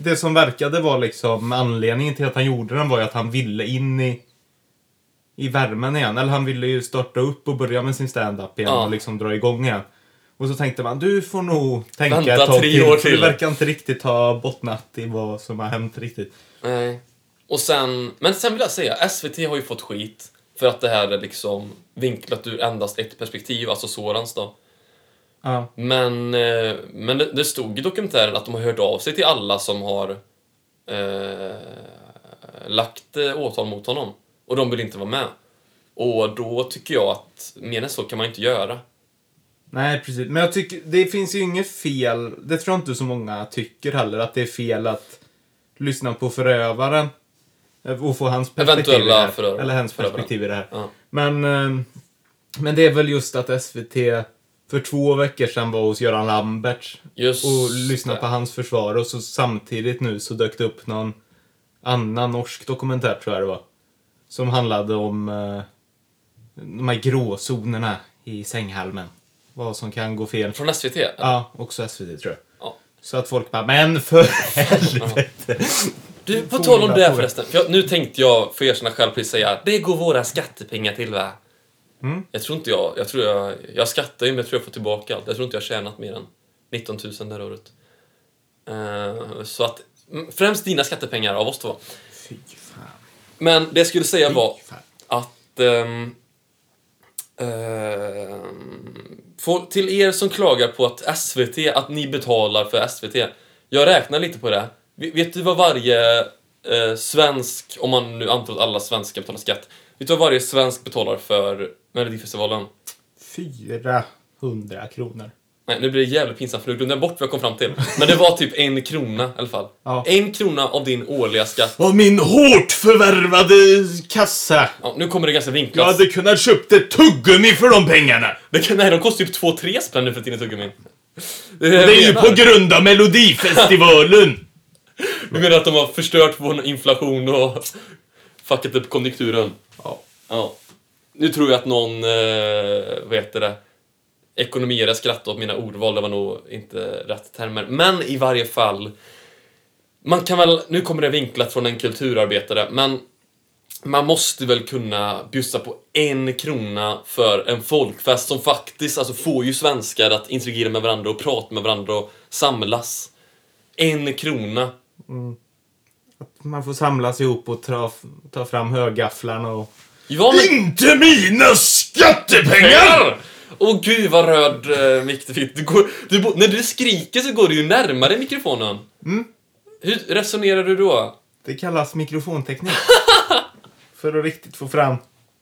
[SPEAKER 2] Det som verkade var liksom anledningen till att han gjorde den var ju att han ville in i, i värmen igen. Eller han ville ju starta upp och börja med sin stand-up igen
[SPEAKER 1] Ja.
[SPEAKER 2] och liksom dra igång igen. Och så tänkte man, du får nog tänka
[SPEAKER 1] Vänta
[SPEAKER 2] ett tag
[SPEAKER 1] tre år
[SPEAKER 2] för Du
[SPEAKER 1] till.
[SPEAKER 2] verkar inte riktigt ha bottnat i vad som har hänt riktigt.
[SPEAKER 1] Nej. Och sen, men sen vill jag säga, SVT har ju fått skit för att det här är liksom vinklat ur endast ett perspektiv, alltså Sorans då.
[SPEAKER 2] Ja.
[SPEAKER 1] Men, eh, men det, det stod i dokumentären att de har hört av sig till alla som har eh, lagt eh, åtal mot honom. Och de vill inte vara med. Och då tycker jag att mer än så kan man inte göra.
[SPEAKER 2] Nej, precis. Men jag tycker, det finns ju inget fel, det tror jag inte så många tycker heller, att det är fel att lyssna på förövaren. eh, Och få hans perspektiv i det
[SPEAKER 1] Eventuella
[SPEAKER 2] här.
[SPEAKER 1] förövare.
[SPEAKER 2] Eller hans
[SPEAKER 1] Förövaren.
[SPEAKER 2] perspektiv i det här.
[SPEAKER 1] Ja.
[SPEAKER 2] Men, eh, men det är väl just att SVT för två veckor sedan var hos Göran Lamberts
[SPEAKER 1] Just
[SPEAKER 2] och lyssnade
[SPEAKER 1] det.
[SPEAKER 2] på hans försvar och så samtidigt nu så dök det upp någon annan norsk dokumentär tror jag det var. Som handlade om eh, de här gråzonerna i sänghalmen. Vad som kan gå fel.
[SPEAKER 1] Från SVT?
[SPEAKER 2] Ja, också SVT tror jag.
[SPEAKER 1] Ja.
[SPEAKER 2] Så att folk bara, men för helvete!
[SPEAKER 1] Du, på
[SPEAKER 2] Får
[SPEAKER 1] tal om
[SPEAKER 2] vi
[SPEAKER 1] det här
[SPEAKER 2] på-
[SPEAKER 1] förresten. För jag, nu tänkte jag för erkänna själv precis säga det går våra skattepengar till va?
[SPEAKER 2] Mm.
[SPEAKER 1] Jag tror inte jag, jag tror jag, jag skattar ju men jag tror jag får tillbaka allt. Jag tror inte jag har tjänat mer än 19 000 det här året. Eh, så att, mm, främst dina skattepengar av oss två.
[SPEAKER 2] Fy fan.
[SPEAKER 1] Men det jag skulle säga var
[SPEAKER 2] Fy fan.
[SPEAKER 1] att... ehm, ehm, för, till er som klagar på att SVT, att ni betalar för SVT. Jag räknar lite på det. V- Vet du vad varje eh, svensk, om man nu antar att alla svenskar betalar skatt. Vet du vad varje svensk betalar för Melodifestivalen?
[SPEAKER 2] 400 kronor.
[SPEAKER 1] Nej, nu blir det jävligt pinsamt för nu glömde jag bort vad jag kom fram till. Men det var typ en krona i alla fall.
[SPEAKER 2] Ja.
[SPEAKER 1] En krona av din årliga skatt.
[SPEAKER 2] Av min hårt förvärvade kassa!
[SPEAKER 1] Ja, nu kommer det ganska vinklat.
[SPEAKER 2] Jag hade kunnat köpt ett tuggummi för de pengarna!
[SPEAKER 1] Det kan, nej, de kostar ju typ 2-3 spänn nu för tiden Eh, tuggumin. Det,
[SPEAKER 2] Det är ju på grund av Melodifestivalen!
[SPEAKER 1] Du menar att de har förstört vår inflation och fuckat upp konjunkturen?
[SPEAKER 2] ja.
[SPEAKER 1] Ja. Nu tror jag att någon, eh, vad heter det, ekonomiare skrattade åt mina ordval, det var nog inte rätt termer. Men i varje fall, man kan väl, nu kommer det vinklat från en kulturarbetare, men man måste väl kunna bjussa på en krona för en folkfest som faktiskt alltså, får ju svenskar att interagera med varandra och prata med varandra och samlas. En krona.
[SPEAKER 2] Man får samlas ihop och ta, ta fram högafflarna och...
[SPEAKER 1] Ja, men-
[SPEAKER 2] Inte mina skattepengar!
[SPEAKER 1] pengar! Åh gud vad röd eh, mick du fick. Du går, du, bo- när du skriker så går du ju närmare mikrofonen. Hur resonerar du då?
[SPEAKER 2] Det kallas mikrofonteknik. för att riktigt få fram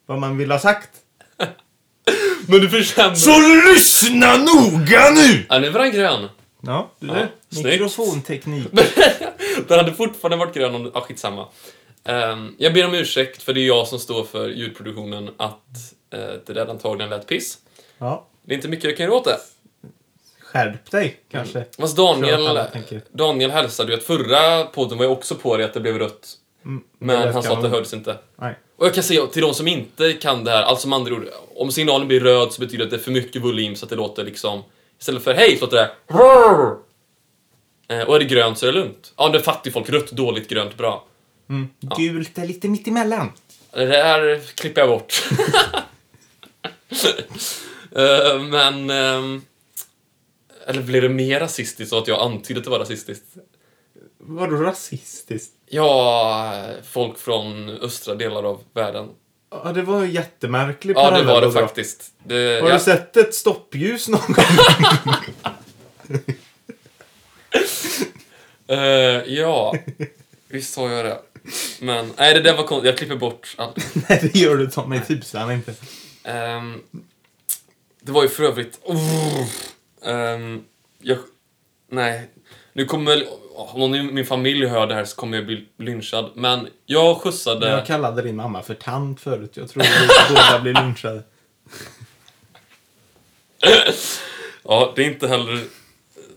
[SPEAKER 2] vad man vill ha sagt.
[SPEAKER 1] Men du försämrar...
[SPEAKER 2] lyssna noga nu!
[SPEAKER 1] Ja, nu var han grön.
[SPEAKER 2] Ja, du
[SPEAKER 1] Ja,
[SPEAKER 2] ser.
[SPEAKER 1] snyggt.
[SPEAKER 2] Mikrofonteknik.
[SPEAKER 1] Den hade fortfarande varit grön om... Ah, skitsamma. Ehm, jag ber om ursäkt för det är jag som står för ljudproduktionen att eh, det där antagligen lät piss.
[SPEAKER 2] Ja,
[SPEAKER 1] Det är inte mycket jag kan göra åt det.
[SPEAKER 2] skärp dig kanske.
[SPEAKER 1] Fast
[SPEAKER 2] Tror jag att
[SPEAKER 1] Daniel,
[SPEAKER 2] alla tänker.
[SPEAKER 1] Daniel hälsade ju att förra podden var ju också på det att det blev rött.
[SPEAKER 2] Mm, det
[SPEAKER 1] Men
[SPEAKER 2] där
[SPEAKER 1] han sa
[SPEAKER 2] kan
[SPEAKER 1] att det
[SPEAKER 2] man-
[SPEAKER 1] hördes inte.
[SPEAKER 2] Nej.
[SPEAKER 1] Och jag kan säga till de som inte kan det här, alltså med andra ord, om signalen blir röd så betyder det att det är för mycket volym så att det låter liksom, istället för hej så låter det "Rrrr". Eh, Och är det grönt så är det lugnt. Ja, det fattar ju folk. Rött, dåligt, grönt, bra. Eh,
[SPEAKER 2] Mm. Gult är lite mittemellan.
[SPEAKER 1] Det där klipper jag bort. Eh, Men... ehm, Eller blir det mer rasistiskt så att jag antydde att det var rasistiskt?
[SPEAKER 2] Vadå rasistiskt?
[SPEAKER 1] Ja, folk från östra delar av världen.
[SPEAKER 2] Ja, det var en jättemärklig
[SPEAKER 1] Ja, det var
[SPEAKER 2] parallell
[SPEAKER 1] det
[SPEAKER 2] att dra.
[SPEAKER 1] faktiskt. Det,
[SPEAKER 2] Har
[SPEAKER 1] ja.
[SPEAKER 2] du sett ett stoppljus någon gång?
[SPEAKER 1] Eh, ja, visst har jag det. Men, nej det där var konstigt. Jag klipper bort allt.
[SPEAKER 2] Nej, det gör du ta mig tusan inte.
[SPEAKER 1] Ehm, det var ju för övrigt... Ehm, jag, nej, nu kommer... Om någon i min familj hör det här så kommer jag bli lynchad. Men jag skjutsade...
[SPEAKER 2] Jag kallade din mamma för tant förut. Jag tror att båda blir lynchade.
[SPEAKER 1] Ja, det är inte heller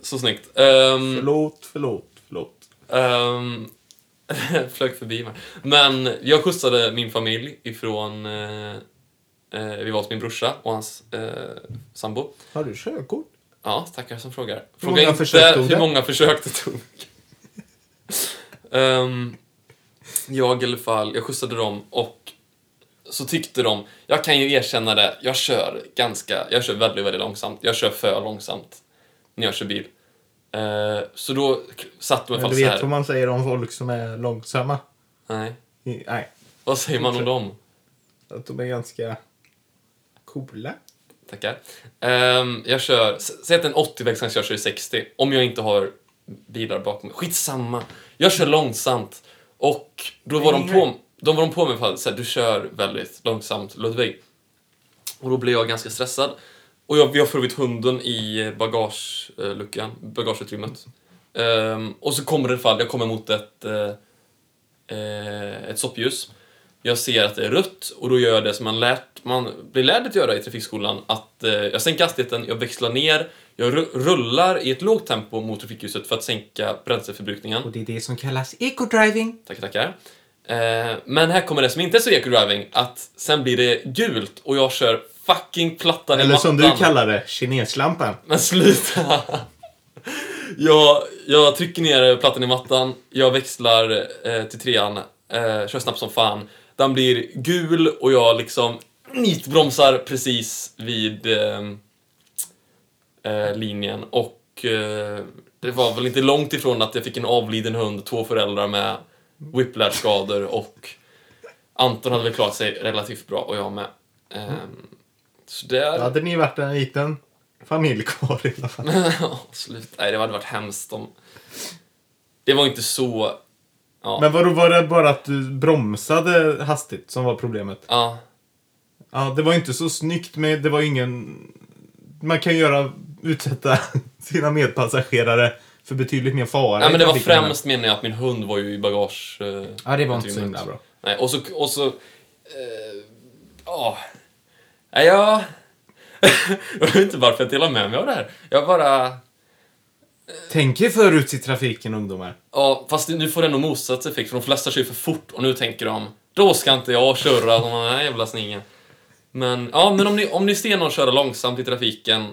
[SPEAKER 1] så snyggt. Ehm,
[SPEAKER 2] Förlåt, förlåt, förlåt.
[SPEAKER 1] Ehm, flög förbi mig. Men jag skjutsade min familj ifrån... Eh, eh, vi var hos min brorsa och hans eh, sambo.
[SPEAKER 2] Har du körkort?
[SPEAKER 1] Ja, tackar som frågar.
[SPEAKER 2] Hur
[SPEAKER 1] Fråga
[SPEAKER 2] många
[SPEAKER 1] inte
[SPEAKER 2] försök tog
[SPEAKER 1] hur
[SPEAKER 2] det?
[SPEAKER 1] många försök det tog. Ehm, jag i alla fall, jag skjutsade dem och så tyckte de, jag kan ju erkänna det, jag kör ganska, jag kör väldigt, väldigt långsamt. Jag kör för långsamt när jag kör bil. Eh, så då k- satt de i alla
[SPEAKER 2] Men du
[SPEAKER 1] fall så
[SPEAKER 2] vet
[SPEAKER 1] här.
[SPEAKER 2] vad man säger om folk som är långsamma?
[SPEAKER 1] Nej.
[SPEAKER 2] I- Nej,
[SPEAKER 1] Vad säger man om dem?
[SPEAKER 2] att de är ganska coola.
[SPEAKER 1] Tackar. Ehm, jag kör, s- säg att det är en 80-väg kanske jag kör i 60. Om jag inte har bilar bakom mig. Skitsamma. Jag kör långsamt. Och då var de på, de var de på mig för att så här, du kör väldigt långsamt Ludvig. Och då blev jag ganska stressad. Och jag, vi har förvitt hunden i bagageluckan, bagageutrymmet. Ehm, och så kommer det ett fall, jag kommer mot ett, eh, eh, ett soppljus. Jag ser att det är rött och då gör jag det som man, lärt, man blir lärd att göra i trafikskolan. Att eh, jag sänker hastigheten, jag växlar ner, jag ru- rullar i ett lågt tempo mot trafikljuset för att sänka bränsleförbrukningen.
[SPEAKER 2] Och det är det som kallas eco-driving.
[SPEAKER 1] Tackar, tackar. Eh, men här kommer det som inte är så eco-driving, att sen blir det gult och jag kör fucking plattan i
[SPEAKER 2] Eller som du
[SPEAKER 1] mattan.
[SPEAKER 2] kallar det, kineslampan.
[SPEAKER 1] Men sluta! jag, jag trycker ner plattan i mattan, jag växlar eh, till trean, eh, kör snabbt som fan. Den blir gul och jag liksom nitbromsar precis vid eh, eh, linjen och eh, det var väl inte långt ifrån att jag fick en avliden hund, två föräldrar med whiplash-skador och Anton hade väl klarat sig relativt bra och jag med. Eh, så där...
[SPEAKER 2] Då hade ni varit en liten familj kvar i alla fall.
[SPEAKER 1] Ja, Slut. Nej, det hade varit hemskt om... Det var inte så... Ja.
[SPEAKER 2] Men vadå, var det bara att du bromsade hastigt som var problemet?
[SPEAKER 1] ja.
[SPEAKER 2] Ja, det var ju inte så snyggt, men det var ju ingen... Man kan ju göra, utsätta sina medpassagerare för betydligt mer fara.
[SPEAKER 1] Nej,
[SPEAKER 2] i
[SPEAKER 1] men det var
[SPEAKER 2] trafiken.
[SPEAKER 1] främst menar jag att min hund var ju i bagage... eh,
[SPEAKER 2] Ja, det var inte så
[SPEAKER 1] utrymmet.
[SPEAKER 2] himla bra.
[SPEAKER 1] Nej, och så... Och så eh, ja. Nej, jag... jag vet inte varför jag delar med mig av det här. Jag bara...
[SPEAKER 2] Tänk er förut i trafiken, ungdomar.
[SPEAKER 1] Ja, fast nu får det nog motsatt effekt för de flesta kör för fort och nu tänker de då ska inte jag köra de här jävla sningen. Men ja, men om ni, om ni ser någon köra långsamt i trafiken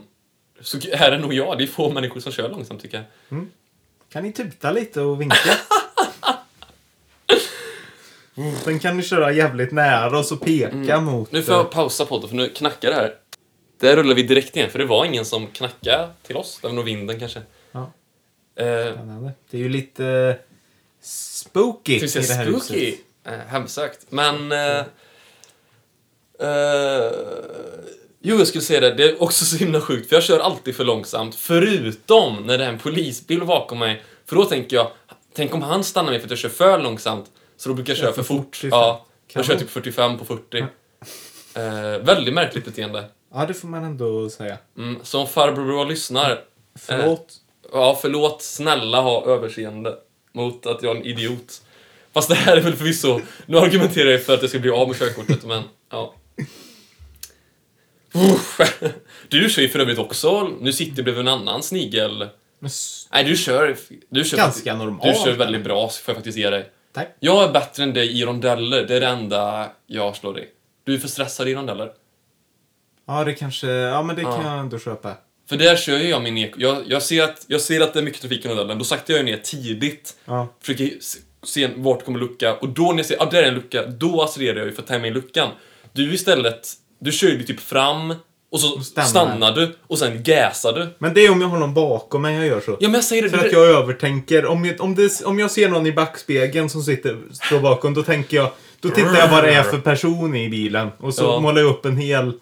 [SPEAKER 1] så är det nog jag. Det är få människor som kör långsamt tycker jag.
[SPEAKER 2] Kan ni tuta lite och vinka? Mm, Sen kan ni köra jävligt nära och så peka
[SPEAKER 1] Mm.
[SPEAKER 2] mot... eh,
[SPEAKER 1] Nu får jag pausa podden för nu knackar det här. Där rullar vi direkt igen för det var ingen som knackade till oss. Det var nog vinden kanske.
[SPEAKER 2] Ja.
[SPEAKER 1] Eh,
[SPEAKER 2] Spännande. Det är ju lite eh, spooky i
[SPEAKER 1] Ska vi säga
[SPEAKER 2] det här
[SPEAKER 1] spooky?
[SPEAKER 2] huset.
[SPEAKER 1] Eh, hemsökt. Men... Eh, eh, jo, jag skulle säga det. Det är också så himla sjukt, för jag kör alltid för långsamt. Förutom när det är en polisbil bakom mig. För då tänker jag, tänk om han stannar mig för att jag kör för långsamt. Så då brukar jag köra för fort.
[SPEAKER 2] 45.
[SPEAKER 1] Ja,
[SPEAKER 2] Kan
[SPEAKER 1] jag kör
[SPEAKER 2] man?
[SPEAKER 1] typ 45 på 40. Eh, väldigt märkligt beteende.
[SPEAKER 2] Ja, det får man ändå säga.
[SPEAKER 1] Mm, så om farbror Brå lyssnar,
[SPEAKER 2] Förlåt.
[SPEAKER 1] Ja, förlåt. Snälla ha överseende mot att jag är en idiot. Fast det här är väl förvisso... Nu argumenterar jag för att jag ska bli av med körkortet, men ja. Uff. Du kör ju för övrigt också. Nu sitter du bredvid en annan snigel.
[SPEAKER 2] Men s-
[SPEAKER 1] Nej, du kör... Du kör
[SPEAKER 2] Ganska normalt.
[SPEAKER 1] Du kör väldigt bra, får jag faktiskt ge dig.
[SPEAKER 2] Tack.
[SPEAKER 1] Jag är bättre än dig i rondeller. Det är det enda jag slår dig. Du är för stressad i rondeller.
[SPEAKER 2] Ja, det kanske... Ja, men det
[SPEAKER 1] Ja.
[SPEAKER 2] kan jag ändå köpa.
[SPEAKER 1] För där kör ju jag min eko. Jag, jag, ser att, jag ser att det är mycket trafik i rondellen. Då saktar jag ju ner tidigt.
[SPEAKER 2] Ja.
[SPEAKER 1] Försöker se- se vart kommer lucka och då när jag ser att ah, där är en lucka, då accelererar jag ju för att tajma in luckan. Du istället, du kör ju typ fram och så
[SPEAKER 2] stannar.
[SPEAKER 1] stannar. du och sen gasar du.
[SPEAKER 2] Men det är om jag har någon bakom mig jag gör så.
[SPEAKER 1] Ja men jag säger det,
[SPEAKER 2] För att jag övertänker. Om jag, om, det, om jag ser någon i backspegeln som sitter, står bakom, då tänker jag... Då tittar jag vad det är för person i bilen. Och så
[SPEAKER 1] Ja.
[SPEAKER 2] målar jag upp en hel...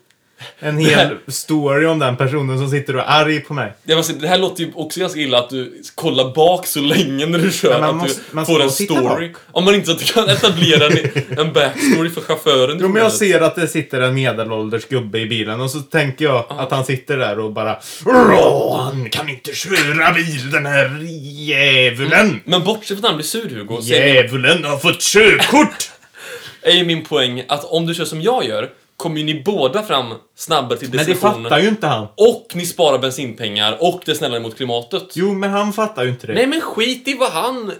[SPEAKER 2] En hel story om den personen som sitter och är arg på mig.
[SPEAKER 1] det, jag måste, säga, det här låter ju också ganska illa att du kollar bak så länge när du kör
[SPEAKER 2] Men man
[SPEAKER 1] att
[SPEAKER 2] måste-
[SPEAKER 1] du
[SPEAKER 2] man
[SPEAKER 1] får
[SPEAKER 2] ska
[SPEAKER 1] en
[SPEAKER 2] titta
[SPEAKER 1] story.
[SPEAKER 2] bak.
[SPEAKER 1] Om man inte så att du kan etablera en, en backstory för chauffören.
[SPEAKER 2] Jo, men jag ser att det sitter en medelålders gubbe i bilen och så tänker jag att han sitter där och bara Han kan inte köra bil den här djävulen!
[SPEAKER 1] Men bortsett från att han blir sur Hugo, så är min-
[SPEAKER 2] Djävulen har fått körkort!
[SPEAKER 1] är ju min poäng att om du kör som jag gör kommer ju ni båda fram snabbare till
[SPEAKER 2] Men det
[SPEAKER 1] destinationen.
[SPEAKER 2] fattar ju inte han.
[SPEAKER 1] Och ni sparar bensinpengar och det är snällare mot klimatet.
[SPEAKER 2] Jo, men han fattar ju inte det.
[SPEAKER 1] Nej men skit i vad han...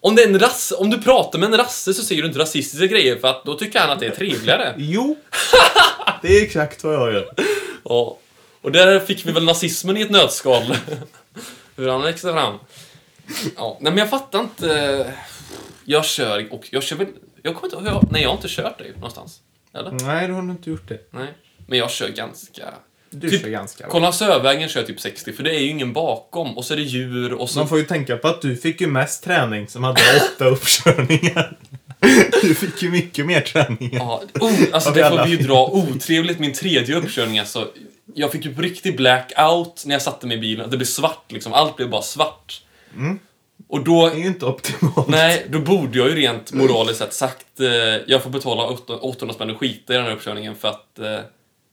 [SPEAKER 1] Om, det är en rass, om du pratar med en rasse så säger du inte rasistiska grejer för att då tycker han att det är trevligare.
[SPEAKER 2] Jo! Det är exakt vad jag gör.
[SPEAKER 1] Ja. Och där fick vi väl nazismen i ett nötskal. Hur han växte fram. Ja. Nej men jag fattar inte. Jag kör och jag kör väl... Jag kommer inte ihåg... hur jag- Nej jag har inte kört dig någonstans. Eller?
[SPEAKER 2] Nej, då har du inte gjort det.
[SPEAKER 1] Nej. Men jag kör ganska...
[SPEAKER 2] Du
[SPEAKER 1] Typ-
[SPEAKER 2] kör ganska bra.
[SPEAKER 1] Kolla Sörvägen kör jag typ 60 för det är ju ingen bakom och så är det djur och så...
[SPEAKER 2] Man får ju tänka på att du fick ju mest träning som hade åtta uppkörningar. Du fick ju mycket mer träning.
[SPEAKER 1] Ja, oh, alltså
[SPEAKER 2] Av
[SPEAKER 1] det får
[SPEAKER 2] alla.
[SPEAKER 1] vi ju dra otrevligt min tredje uppkörning alltså. Jag fick ju på riktig blackout när jag satte mig i bilen. Det blev svart liksom, allt blev bara svart. Mm. Och då,
[SPEAKER 2] Det är ju inte optimalt.
[SPEAKER 1] nej, då borde jag ju rent moraliskt sett sagt eh, jag får betala 800 spänn och skita i den här uppkörningen för att eh,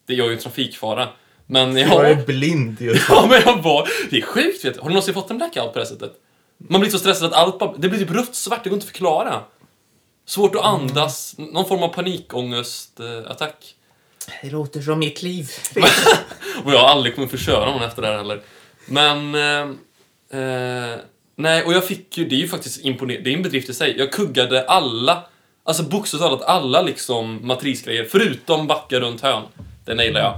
[SPEAKER 1] det gör ju en trafikfara. Men
[SPEAKER 2] Jag
[SPEAKER 1] ja,
[SPEAKER 2] är blind just
[SPEAKER 1] ja men jag var... Det är sjukt vet du. Har du någonsin fått en blackout på det här sättet? Man blir så stressad att allt bara... Det blir typ rött-svart, det går inte att förklara. Svårt
[SPEAKER 2] Mm.
[SPEAKER 1] att andas, n- någon form av panikångestattack.
[SPEAKER 2] Det låter som mitt liv.
[SPEAKER 1] Och jag har aldrig kommit förstöra någon efter det här heller. Men... Eh, eh, nej, och jag fick ju... Det är ju faktiskt imponerande. Det är en bedrift i sig. Jag kuggade alla, alltså bokstavligt talat alla liksom matrisgrejer, förutom backa runt hörn. Den nailade jag.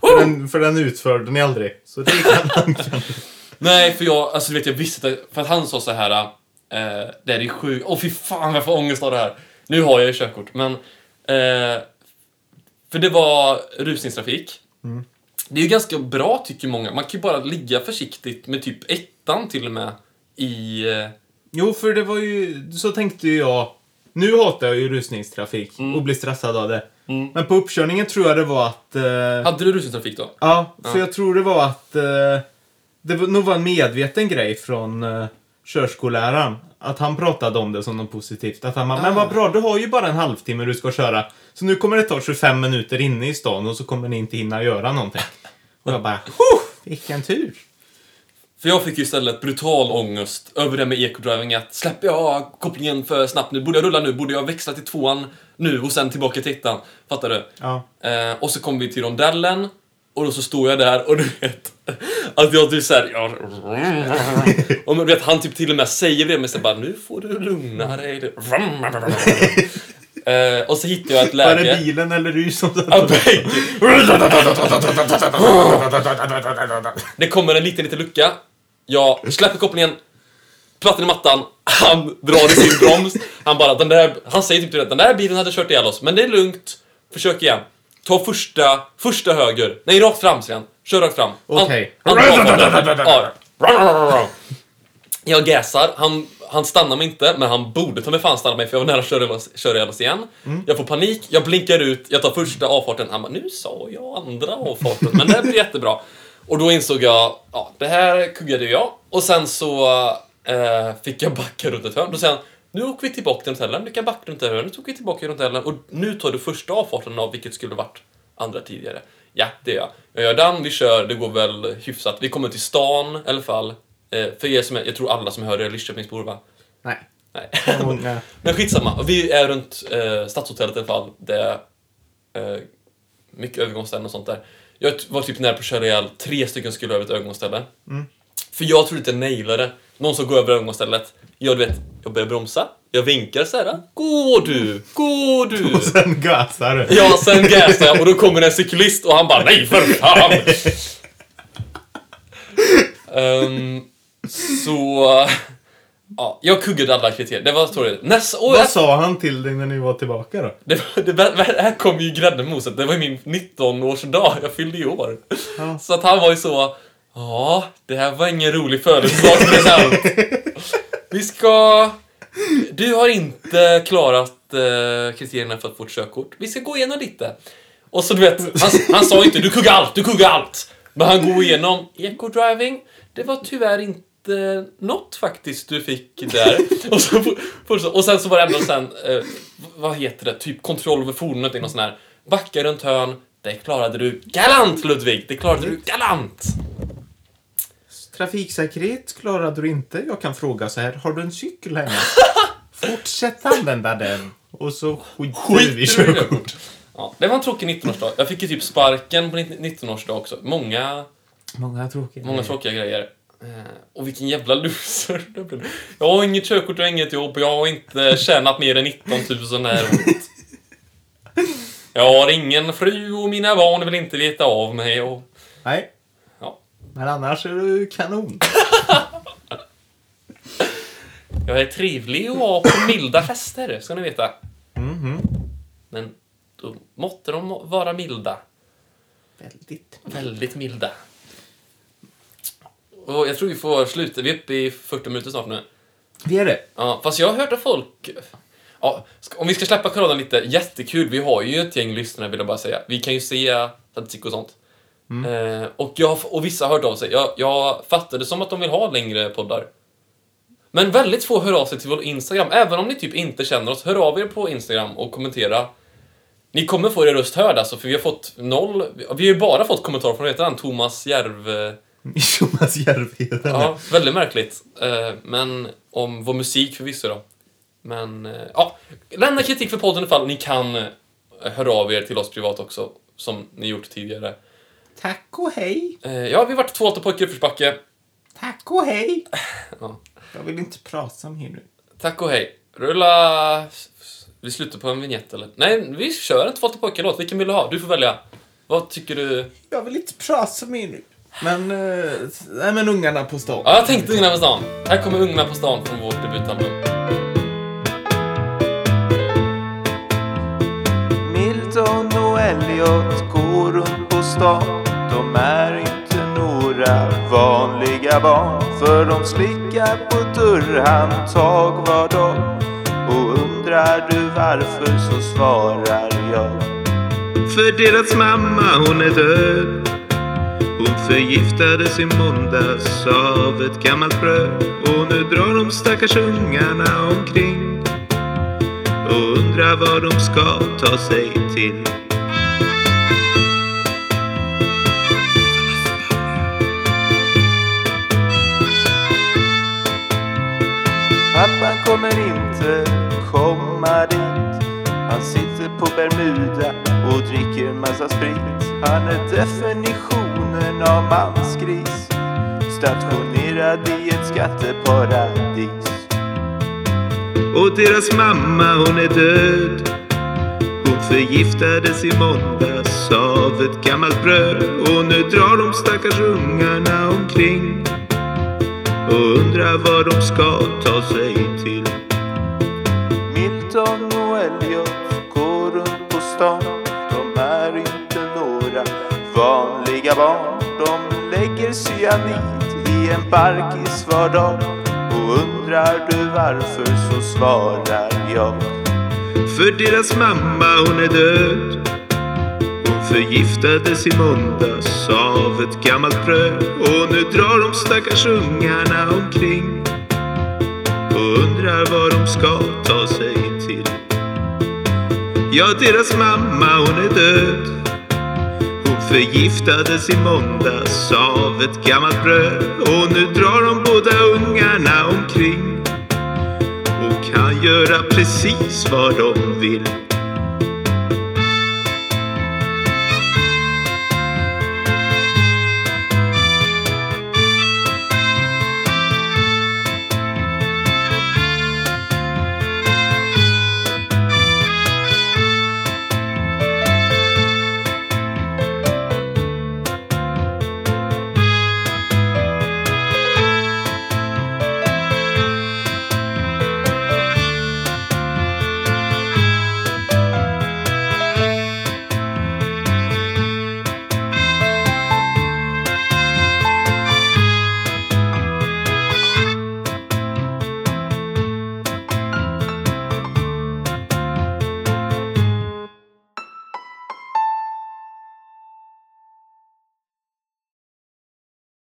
[SPEAKER 2] För den, för den utförde ni aldrig. Så det kan man kanske.
[SPEAKER 1] Nej, för jag, alltså du vet jag visste att, för att han sa så här. Eh, det här är sjukt. Åh fy fan vad jag får ångest av det här. Nu har jag ju körkort, men... Eh, för det var rusningstrafik. Det är ju ganska bra tycker många. Man kan ju bara ligga försiktigt med typ ettan till och med i... Eh,
[SPEAKER 2] Jo, för det var ju... Så tänkte ju jag. Nu hatar jag ju rusningstrafik
[SPEAKER 1] Mm.
[SPEAKER 2] och blir stressad av det. Men på uppkörningen tror jag det var att... Eh,
[SPEAKER 1] hade du rusningstrafik då?
[SPEAKER 2] ja, för
[SPEAKER 1] Ja.
[SPEAKER 2] jag tror det var att... Eh, det var, nog var en medveten grej från eh, körskolläraren. Att han pratade om det som något positivt. Att han bara, men vad bra, du har ju bara en halvtimme du ska köra. Så nu kommer det ta 25 minuter inne i stan och så kommer ni inte hinna göra någonting. Och jag bara, "Huh, vilken tur.
[SPEAKER 1] För jag fick ju istället brutal ångest över det med ecodriving att släpper jag kopplingen för snabbt nu? Borde jag rulla nu? Borde jag växla till tvåan nu och sen tillbaka till ettan? Fattar du?
[SPEAKER 2] Ja.
[SPEAKER 1] Eh, och så kom vi till rondellen och då så stod jag där och du vet att jag typ såhär... Jag, och men du vet, han typ till och med säger det men så bara nu får du lugna dig. eh, och så hittade jag ett
[SPEAKER 2] Var det
[SPEAKER 1] läge...
[SPEAKER 2] bilen eller du som satt
[SPEAKER 1] Ja, bägge. Det kommer en liten, liten lucka. Jag släpper kopplingen, plattan i mattan, han drar i sin broms. Han bara, den där, han säger typ till den, den där bilen hade kört ihjäl oss, men det är lugnt. Försök igen. Ta första, första höger. Nej, rakt fram säger han. Kör rakt fram. Han-
[SPEAKER 2] Okej.
[SPEAKER 1] han tar farten. Ja. Jag gasar, han, han stannar mig inte, men han borde ta mig fan stanna mig för jag var nära att köra ihjäl oss- köra ihjäl oss igen. Jag får panik, jag blinkar ut, jag tar första avfarten. Han bara, nu sa jag andra avfarten, men det här blir jättebra. Och då insåg jag, ja, det här kuggade ju jag. Och sen så eh, fick jag backa runt ett hörn. Då säger han, nu åker vi tillbaka till hotellen, du kan backa runt det här hörnet, så åker vi tillbaka runt hotellen och nu tar du första avfarten av vilket skulle varit andra tidigare. Ja, det gör jag. Jag gör den, vi kör, det går väl hyfsat. Vi kommer till stan i alla fall. Eh, för er som är, jag tror alla som hör det är Lidköpingsbor va?
[SPEAKER 2] Nej.
[SPEAKER 1] Nej.
[SPEAKER 2] Många.
[SPEAKER 1] Men skitsamma, vi är runt eh, Stadshotellet i alla fall. Det är eh, mycket övergångsställen och sånt där. Jag t- var typ nära på att köra ihjäl tre stycken skulle över ett övergångsställe. För jag trodde inte jag nailade någon som går över övergångsstället. Jag du vet, jag börjar bromsa, jag vinkar såhär. Gå du, gå du!
[SPEAKER 2] Och sen gasar du.
[SPEAKER 1] Ja, sen gasar jag och då kommer en cyklist och han bara nej för fan! Ehm, så... Ja, jag kuggade alla kriterier. Det var storyn. Nästa år...
[SPEAKER 2] Vad sa han till dig när ni var tillbaka då?
[SPEAKER 1] Det, var- det, det här kom ju grädden på moset. Det var ju min 19-årsdag. Jag fyllde i år.
[SPEAKER 2] Ja.
[SPEAKER 1] Så att han var ju så... Ja, det här var ingen rolig födelsedagspresent. Vi ska... Du har inte klarat eh, kriterierna för att få ett körkort. Vi ska gå igenom lite. Och så du vet, han, han sa inte du kuggar allt, du kuggar allt. Men han går igenom eco-driving. Det var tyvärr inte något faktiskt du fick där. Och, så, fortsatte- och sen så var det ändå sen, eh, vad heter det, typ kontroll över fordonet eller något sån här. Backa runt hörn. Det klarade du galant Ludvig! Det klarade du galant!
[SPEAKER 2] Trafiksäkerhet klarade du inte. Jag kan fråga så här. Har du en cykel hemma? Fortsätt använda den. Och så skiter
[SPEAKER 1] Skiter
[SPEAKER 2] du i
[SPEAKER 1] du i
[SPEAKER 2] körkortet.
[SPEAKER 1] körkort? Ja, det var en tråkig 19-årsdag. Jag fick ju typ sparken på 19-årsdag också. Många
[SPEAKER 2] Många tråkiga
[SPEAKER 1] Många tråkiga grejer. Eh, Och vilken jävla loser du blev. Jag har inget körkort och inget jobb och jag har inte tjänat mer än 19 000 det här året. Jag har ingen fru och mina barn vill inte veta av mig och...
[SPEAKER 2] Nej,
[SPEAKER 1] Ja,
[SPEAKER 2] men annars är du kanon.
[SPEAKER 1] jag är trevlig och var på milda fester, ska ni veta.
[SPEAKER 2] Mhm.
[SPEAKER 1] Men då måtte de må- vara milda.
[SPEAKER 2] Väldigt.
[SPEAKER 1] Väldigt milda. Och jag tror vi får sluta. Vi är uppe i 40 minuter snart nu.
[SPEAKER 2] Vi är det.
[SPEAKER 1] Ja, fast jag har hört att folk... Ja, ska- om vi ska släppa coronan lite, jättekul. Vi har ju ett gäng lyssnare vill jag bara säga. Vi kan ju se statistik och sånt. Eh, och, jag, har f- och vissa har hört av sig. Jag, jag fattar det som att de vill ha längre poddar. Men väldigt få hör av sig till vår Instagram. Även om ni typ inte känner oss, hör av er på Instagram och kommentera. Ni kommer få er röst hörd alltså, för vi har fått noll... Vi har ju bara fått kommentarer från, vad heter han, Thomas Järv... eh,
[SPEAKER 2] Jonas Järvheden.
[SPEAKER 1] Ja, väldigt märkligt. Eh, Men om vår musik förvisso då. Men eh, ja, lämna kritik för podden ifall ni kan eh, höra av er till oss privat också, som ni gjort tidigare.
[SPEAKER 2] Tack och hej.
[SPEAKER 1] Eh, Ja, vi har varit två alta pojkar i uppförsbacke.
[SPEAKER 2] Tack och hej.
[SPEAKER 1] Ja.
[SPEAKER 2] Jag vill inte prata mer nu.
[SPEAKER 1] Tack och hej. Rulla... Vi slutar på en vignett eller? Nej, vi kör en två alta pojkar-låt. Vilken vill du ha? Du får välja. Vad tycker du?
[SPEAKER 2] Jag vill inte prata mer nu. Men, eh, nej men ungarna på stan.
[SPEAKER 1] Ja, jag tänkte Ungarna på stan. Här kommer Ungarna på stan från vårt debutalbum.
[SPEAKER 4] Milton och Elliot går runt på stan. De är inte några vanliga barn. För de slickar på dörrhandtag var dag. Och undrar du varför så svarar jag. För deras mamma hon är död. Hon förgiftades i måndags av ett gammalt bröd. Och nu drar de stackars ungarna omkring och undrar vad de ska ta sig till. Pappan kommer inte komma dit. Han sitter på Bermuda och dricker massa sprit. Han är definitionen av mansgris. Stationerad i ett skatteparadis. Och deras mamma hon är död Hon förgiftades i måndags av ett gammalt bröd Och nu drar de stackars ungarna omkring Och undrar vad de ska ta sig till Milton och Elliot går runt på stan De är inte några vanliga barn De lägger cyanid i en barkis var dag Och undrar du varför så svarar jag För deras mamma hon är död Hon förgiftades i måndags av ett gammalt bröd Och nu drar de stackars ungarna omkring och undrar vad de ska ta sig till. Ja, deras mamma hon är död. Hon förgiftades i måndags av ett gammalt bröd. Och nu drar de båda ungarna omkring och kan göra precis vad de vill.